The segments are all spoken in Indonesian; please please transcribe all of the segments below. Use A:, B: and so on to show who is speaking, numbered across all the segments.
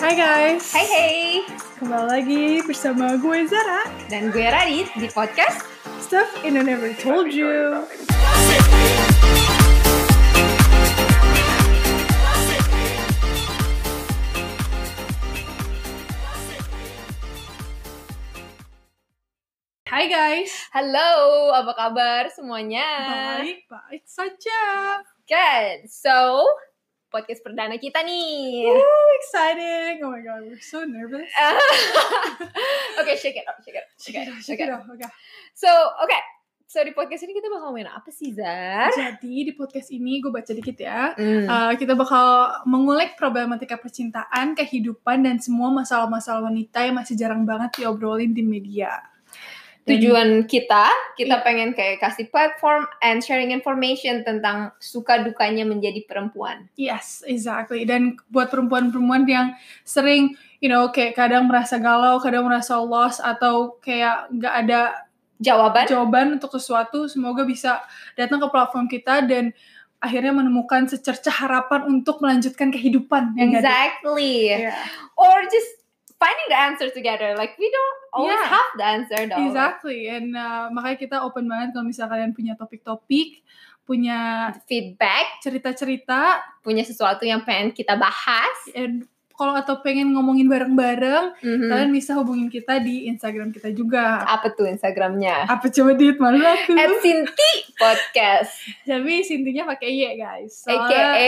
A: gengs
B: Hai hai,
A: Kembali lagi bersama gue Zara
B: dan gue Radit di podcast
A: Stuff Indo Never Told You Hai guys
B: Halo, apa kabar semuanya?
A: Baik-baik saja
B: Good, so podcast perdana kita nih
A: Woo, exciting Oh my god, we're so nervous
B: Oke, shake it up, shake it up,
A: Shake it
B: off,
A: off, shake it off, oke.
B: So, oke So, di podcast ini kita bakal main apa sih, Zar?
A: Jadi di podcast ini gue baca dikit ya
B: Hmm.
A: Uh, kita bakal mengulik problematika percintaan, kehidupan, dan semua masalah-masalah wanita yang masih jarang banget diobrolin di media. Dan- Iya.
B: Tujuan kita, kita pengen kayak kasih platform and sharing information tentang suka dukanya menjadi perempuan.
A: Yes, exactly. Dan buat perempuan-perempuan yang sering, you know, kayak kadang merasa galau, kadang merasa lost, atau kayak nggak ada
B: Jawaban?
A: jawaban untuk sesuatu, semoga bisa datang ke platform kita dan akhirnya menemukan secerca harapan untuk melanjutkan kehidupan. yang nggak Iya. ada.
B: Exactly.
A: Yeah.
B: or just finding the answer together. Like we don't always
A: Yeah.
B: have the answer though.
A: Exactly, and uh, makanya kita open banget kalau misalnya kalian punya topik-topik, punya
B: Feedback,
A: cerita-cerita,
B: punya sesuatu yang pengen kita bahas.
A: and kalau atau pengen ngomongin bareng-bareng,
B: Mhm.
A: kalian bisa hubungin kita di Instagram kita juga.
B: Apa tuh Instagramnya?
A: Apa coba diet malu aku?
B: At Sinti Podcast,
A: Tapi sintinya pakai Y guys. Soalnya-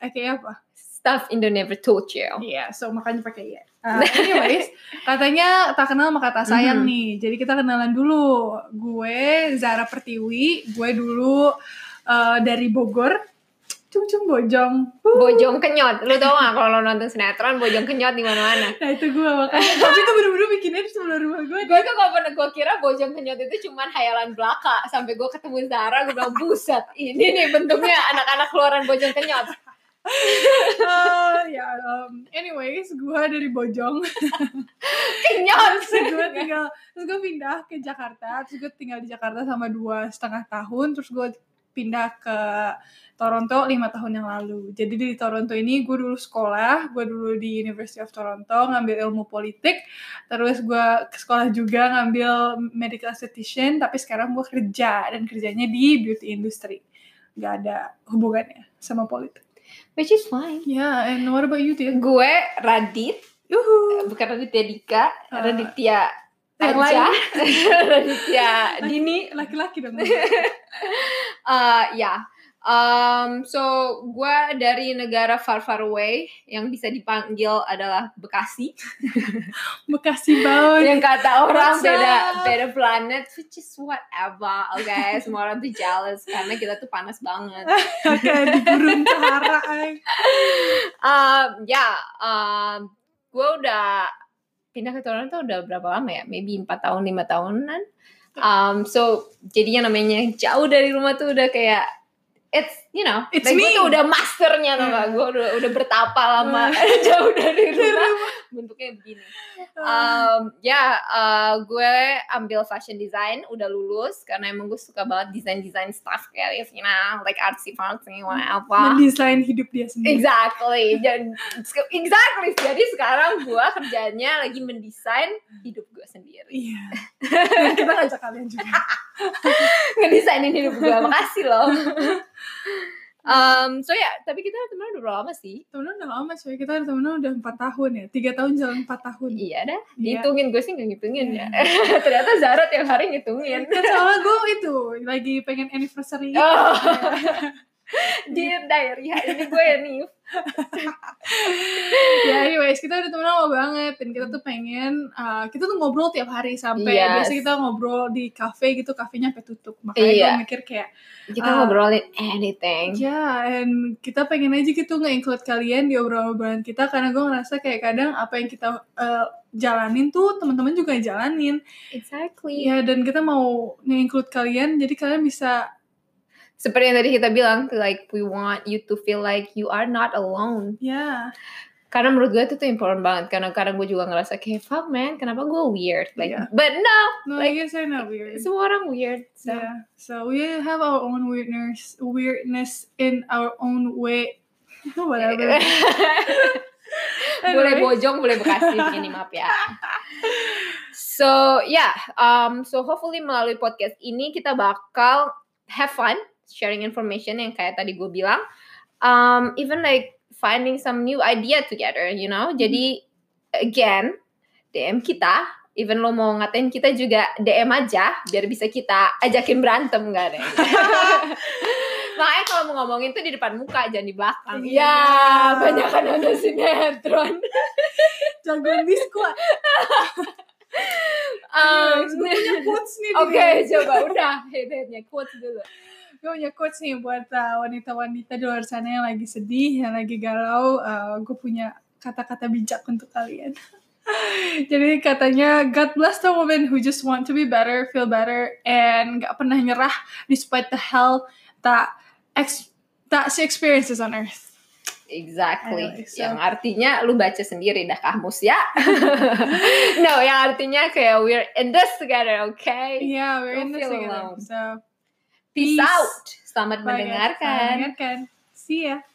B: aka
A: AKA apa?
B: Stuff Indo Never Told You.
A: Iya, so makanya pakai Y. Uh, anyways, katanya tak kenal maka tak sayang
B: Mhm.
A: nih. Jadi kita kenalan dulu. Gue Zara Pertiwi, gue dulu uh, dari Bogor. Cung-cung bojong.
B: Bojong kenyot, lu tau gak kalau lo nonton sinetron bojong kenyot di mana-mana?
A: Nah itu gue makanya. Tapi itu bener-bener bikinnya di sebelah rumah gue.
B: Gue tuh kalau pernah gue kira bojong kenyot itu cuman hayalan belaka sampai gue ketemu Zara gue bilang buset ini nih bentuknya anak-anak keluaran bojong kenyot.
A: Eh, ya, um, anyways, gue dari Bojong.
B: Kenyot.
A: terus gue tinggal, terus gue pindah ke Jakarta. Terus gue tinggal di Jakarta sama dua setengah tahun. Terus gue pindah ke Toronto lima tahun yang lalu. Jadi di Toronto ini gue dulu sekolah, gue dulu di University of Toronto ngambil ilmu politik. Terus gue ke sekolah juga ngambil medical esthetician, tapi sekarang gue kerja dan kerjanya di beauty industry. Gak ada hubungannya sama politik.
B: Which is fine.
A: Yeah, and what about you, Tia?
B: Gue Radit,
A: Yuhu.
B: bukan Raditya Dika,
A: Eh,
B: Raditya
A: yang
B: Aja, Raditya Dini.
A: laki-laki dong
B: Eh, ya, Em, so gue dari negara far far away yang bisa dipanggil adalah Bekasi.
A: Bekasi banget
B: Yang kata orang
A: What's
B: beda
A: up?
B: beda planet, which is whatever, oke. Semua orang tuh jealous karena kita tuh panas banget.
A: kayak di gurun Sahara ay.
B: Um, ya, um, gue udah pindah ke Toronto udah berapa lama ya? Maybe 4 tahun, 5 tahunan. Um, so, jadinya namanya jauh dari rumah tuh udah kayak It's, you know,
A: It's
B: like gue
A: me.
B: tuh udah masternya tuh, Kak. Gue udah, udah bertapa lama jauh dari rumah. Bentuknya begini.
A: Ah,
B: Um, ya, uh, gue ambil fashion design, udah lulus. Karena emang gue suka banget desain-desain stuff kayak, you know, like artsy-fartsy, whatever.
A: mendesain hidup dia sendiri
B: Exactly. Dan exactly. Jadi sekarang gua kerjanya lagi mendesain hidup gua sendiri.
A: iya dan kita ngajak kalian juga
B: Ngedesainin hidup gua. Makasih loh. Um, so ya, tapi kita teman udah berapa lama sih?
A: temen udah lama cuy kita ada temen udah 4 tahun ya 3 tahun jalan 4 tahun
B: Iya dah,
A: Iya.
B: dihitungin gue sih nggak ngitungin ya. Ternyata Zara tiap hari ngitungin.
A: kan soalnya gue itu lagi pengen anniversary
B: Oh.
A: Ya.
B: Di diary hari ini gue ya nih.
A: ya anyways kita udah temen lama banget dan kita tuh pengen uh, kita tuh ngobrol tiap hari sampai
B: Yes.
A: biasa kita ngobrol di cafe gitu kafenya sampai tutup makanya
B: Iya.
A: gue mikir kayak
B: Kita
A: Ah.
B: ngobrolin anything.
A: Ya, and kita pengen aja gitu nge-include kalian di obrolan-obrolan kita karena gue ngerasa kayak kadang apa yang kita eh, jalanin tuh teman-teman juga jalanin.
B: Exactly.
A: Ya, dan kita mau nge-include kalian jadi kalian bisa
B: Seperti yang tadi kita bilang, like we want you to feel like you are not alone.
A: ya.
B: karena menurut gue itu tuh important banget karena kadang gue juga ngerasa kayak fuck man kenapa gue weird like
A: Iya.
B: but no
A: No, I
B: Like-
A: guess I'm not weird. So,
B: semua orang weird so
A: yeah. So we have our own Iya. weirdness, weirdness in our own way. Whatever.
B: Eh, boleh bojong boleh bekasi begini maaf ya so yeah um, so hopefully melalui podcast ini kita bakal have fun sharing information yang kayak tadi gue bilang um, even like finding some new idea together you know jadi again dm kita even lo mau ngatain kita juga dm aja biar bisa kita ajakin berantem gak deh gitu. Makanya kalau mau ngomongin tuh di depan muka, jangan di belakang.
A: Iya.
B: Ya, banyak kan ada sinetron.
A: Jagoan diskua.
B: Um,
A: Guys, gue punya quotes nih.
B: Oke,
A: Dini.
B: coba udah head-headnya quotes dulu.
A: Gue punya quotes Oh, iya, nih buat uh, wanita-wanita di luar sana yang lagi sedih, yang lagi galau. Uh, gue punya kata-kata bijak untuk kalian. Jadi katanya God bless the woman who just want to be better, feel better, and gak pernah nyerah despite the hell that ex that she experiences on earth.
B: Exactly.
A: Anyway, so-
B: Yang artinya lu baca sendiri dah kamus ya. no, yang artinya kayak we're in this together, okay?
A: Yeah, we're in
B: Don't
A: this
B: feel
A: together.
B: alone.
A: Iya, gitu. So
B: Peace
A: Peace.
B: out. Selamat
A: bye guys.
B: mendengarkan.
A: Mendengarkan. See ya.